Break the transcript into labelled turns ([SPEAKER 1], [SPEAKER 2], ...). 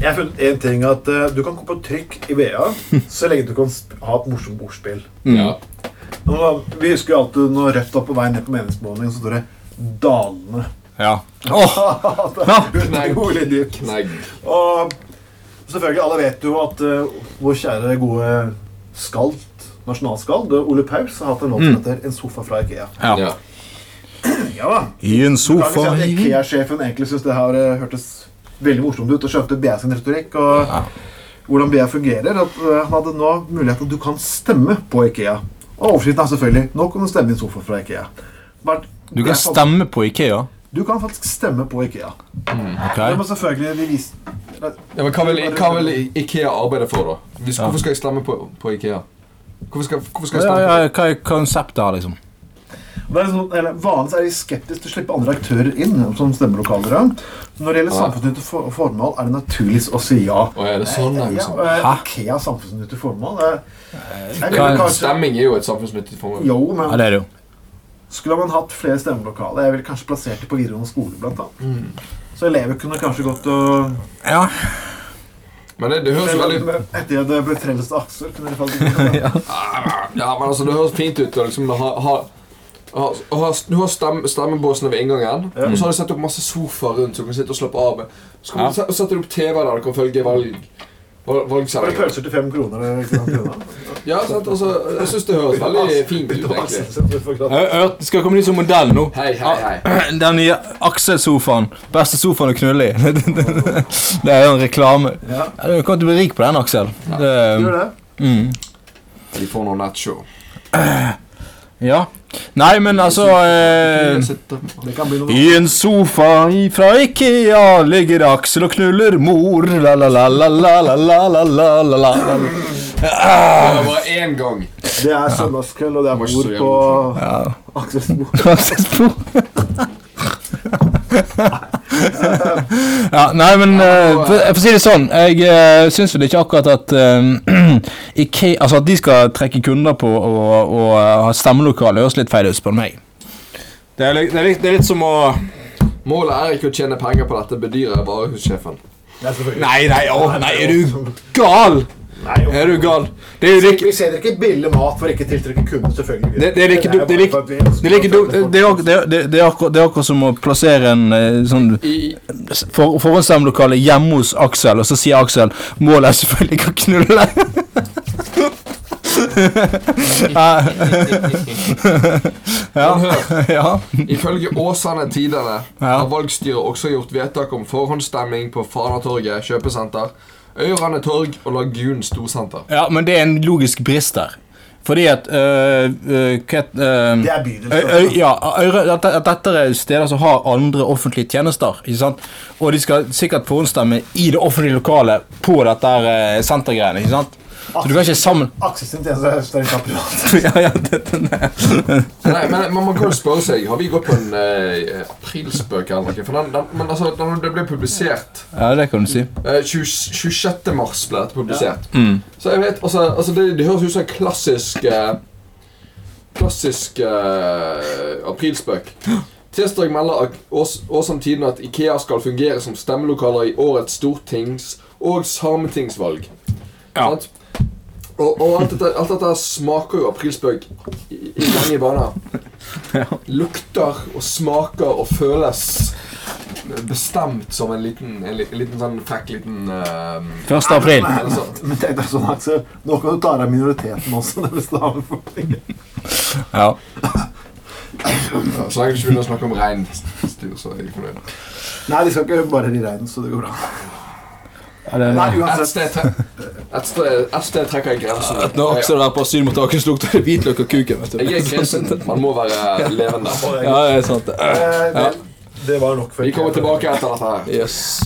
[SPEAKER 1] Jeg har funnet en ting at eh, du kan komme på trykk i VA så lenge du kan sp- ha et morsomt ordspill.
[SPEAKER 2] Mm.
[SPEAKER 3] Ja.
[SPEAKER 1] Nå- Vi husker jo alltid når Rødt var på vei ned på meningsmålingen, så står det 'Dalene'.
[SPEAKER 2] Ja. Åh,
[SPEAKER 1] Det er Utrolig dyrt.
[SPEAKER 3] Knegg.
[SPEAKER 1] Og selvfølgelig, alle vet jo at eh, vår kjære, gode skald, nasjonalskald, Ole Paus, har hatt en låt som heter 'En sofa fra Ikea'.
[SPEAKER 2] ja.
[SPEAKER 3] Ja.
[SPEAKER 1] Ja da.
[SPEAKER 2] I
[SPEAKER 1] Kan
[SPEAKER 2] en
[SPEAKER 1] ikke si
[SPEAKER 2] sofa
[SPEAKER 1] at Ikea-sjefen egentlig syntes det her eh, hørtes veldig morsomt ut og skjønte BA sin retorikk og hvordan BA fungerer. At eh, han hadde nå muligheten at du kan stemme på Ikea. Og overskriften er selvfølgelig 'Nå kan du stemme i en sofa fra Ikea'. Bare-
[SPEAKER 2] Du kan stemme på Ikea.
[SPEAKER 1] du kan faktisk stemme på Ikea.
[SPEAKER 2] Ok.
[SPEAKER 1] Men selvfølgelig, vi vis-
[SPEAKER 3] Ja, men hva vil, hva vil Ikea arbeide for, da? Hvis, hvorfor skal jeg stemme på, på Ikea? Hvorfor skal, hvorfor skal jeg
[SPEAKER 2] Ja,
[SPEAKER 3] stemme?
[SPEAKER 2] ja, hva er konseptet her, liksom?
[SPEAKER 1] Det er sånn, eller, vanligvis er de skeptiske til å slippe andre aktører inn som stemmelokalere. Når det gjelder
[SPEAKER 3] Ja.
[SPEAKER 1] samfunnsnyttige for formål, er det naturlig å si ja.
[SPEAKER 3] Å, er det sånn,
[SPEAKER 1] Ja,
[SPEAKER 3] er det
[SPEAKER 1] og,
[SPEAKER 3] sånn?
[SPEAKER 1] eh,
[SPEAKER 2] Hæ?
[SPEAKER 1] IKEA samfunnsnyttige formål eh, jeg
[SPEAKER 2] hva
[SPEAKER 1] ville
[SPEAKER 2] er
[SPEAKER 1] kanskje,
[SPEAKER 3] Stemming er jo et samfunnsnyttig formål.
[SPEAKER 1] Jo, men
[SPEAKER 2] Ja, det er det jo.
[SPEAKER 1] Skulle man hatt flere stemmelokaler Jeg ville kanskje plassert det på videregående skole, blant annet. Så elever kunne kanskje gått og
[SPEAKER 2] Ja.
[SPEAKER 3] Men det, det høres jo veldig
[SPEAKER 1] Etter at det ble frelst av Aksel, kunne de falt ja.
[SPEAKER 3] Ja, men altså, det høres fint ut å liksom ha, ha, ha, ha, Du har stem, stemmebåsene ved inngangen, og så har de satt opp masse sofaer rundt, så du kan sitte og slappe av. Så kan
[SPEAKER 2] Mm. Ja.
[SPEAKER 3] du se- og setter du opp TV der du kan følge valg, valg
[SPEAKER 1] Bare
[SPEAKER 3] valgsendinger.
[SPEAKER 1] pølser til fem kroner. eller ikke sant, kroner.
[SPEAKER 3] Ja, sant? Altså, jeg syns det høres veldig fint ut, egentlig.
[SPEAKER 1] egentlig.
[SPEAKER 2] Ø- ø- Skal komme ny som modell nå. Ah,
[SPEAKER 3] Hei, hei, hei.
[SPEAKER 2] Den nye Aksel-sofaen. Beste sofaen å knulle i. Det er jo en reklame.
[SPEAKER 1] Ja.
[SPEAKER 2] Ja, Du kommer til å bli rik på den, Aksel. Det,
[SPEAKER 1] Gjør det.
[SPEAKER 2] mm.
[SPEAKER 3] De får noe nettshow.
[SPEAKER 2] eh, Ja. Nei, men altså eh,
[SPEAKER 1] Det kan bli noe.
[SPEAKER 2] I en sofa fra Ikea ligger Aksel og knuller mor. La la la la la la la la la la la
[SPEAKER 3] Det var én gang.
[SPEAKER 1] Det er søndagskveld, og det er
[SPEAKER 3] Må ikke
[SPEAKER 1] mor
[SPEAKER 3] så
[SPEAKER 1] på
[SPEAKER 3] jævlig
[SPEAKER 1] Aksels bord.
[SPEAKER 2] Ja, nei, men eh, for, for å si det sånn, jeg uh, syns vel ikke akkurat at eh, Ikea, altså at de skal trekke kunder på og, og eh, ha stemmelokale, høres litt feil ut, spør du meg. Det er, litt, det, er litt, det er litt som å
[SPEAKER 3] Målet er ikke å tjene penger på dette, bedyrer varehussjefen.
[SPEAKER 1] Nei, selvfølgelig.
[SPEAKER 2] Nei, nei, å, nei, er du gal?
[SPEAKER 1] Nei, jo.
[SPEAKER 2] Er du gal? Det er jo like
[SPEAKER 1] Vi selger ikke billig mat for ikke å tiltrekke kunder, selvfølgelig.
[SPEAKER 2] Det, det er like dumt det er like- det er like dumt- det- det er ak- det er- det- det er akkurat det er akkurat som å plassere en eh, sånn
[SPEAKER 3] I,
[SPEAKER 2] s- for, forhåndsstemmelokale hjemme hos Aksel, og så sier Aksel 'Målet er selvfølgelig ikke å knulle'.
[SPEAKER 3] Men hør,
[SPEAKER 2] ja.
[SPEAKER 3] Ifølge Åsane Tidende
[SPEAKER 2] Ja.
[SPEAKER 3] har valgstyret også gjort vedtak om forhåndsstemming på Fanatorget kjøpesenter, Øyrane torg og Lagunen storsenter.
[SPEAKER 2] ja, men det er en logisk brist der. Fordi at øh, øh, hva het- øh,
[SPEAKER 1] Det er altså.
[SPEAKER 2] Øy- øy-
[SPEAKER 1] bydelsfølelse.
[SPEAKER 2] ja, øyre, at, at dette er steder som har andre offentlige tjenester. ikke sant? Og de skal sikkert forhåndsstemme i det offentlige lokalet på dette her, eh, sentergreiene. ikke sant? Så du kan ikke sammen...
[SPEAKER 1] Aksel sin tjeneste er strengt tatt privat.
[SPEAKER 2] ja, ja, det, det, det.
[SPEAKER 3] Nei, men, men man kan jo spørre seg, har vi gått på en eh, aprilspøk eller noe? For den, den, men altså, den, det ble publisert
[SPEAKER 2] Ja, det kan du si.
[SPEAKER 3] eh, 20, 26. mars ble dette publisert.
[SPEAKER 2] Mm.
[SPEAKER 3] Så jeg vet, altså, altså det, det høres ut som en klassisk eh, Klassisk eh, aprilspøk. Tirsdag melder Ak- Ås- Åsam Tiden at Ikea skal fungere som stemmelokaler i årets stortings- og sametingsvalg.
[SPEAKER 2] Ja.
[SPEAKER 3] Sant? Og, og alt, dette, alt dette smaker jo aprilspøk i, i mange baner. Lukter og smaker og føles bestemt som en liten, en, li- en liten sånn frekk liten eh,
[SPEAKER 2] 1. april.
[SPEAKER 3] altså,
[SPEAKER 1] Men tenk deg sånn, Aksel. Nå kan du ta deg minoriteten også. når du stemmer for ting.
[SPEAKER 2] Ja.
[SPEAKER 3] Så lenge du ikke begynner å snakke om reinsdyr, så er jeg fornøyd.
[SPEAKER 1] Nei, de skal ikke bare i regnen, så det går bra.
[SPEAKER 2] det er-
[SPEAKER 1] Nei,
[SPEAKER 3] Et
[SPEAKER 1] uansett.
[SPEAKER 3] sted, tre- et sted, et sted trekker jeg grensen.
[SPEAKER 2] Når Aksel er på asylmottaket, så lukter det hvitløk og kuken. vet du.
[SPEAKER 3] Jeg er kristen. Man må være levende.
[SPEAKER 2] Ja, det er sant.
[SPEAKER 1] Eh, vel, Det var nok for
[SPEAKER 3] Vi kommer tilbake etter dette her.
[SPEAKER 2] Yes.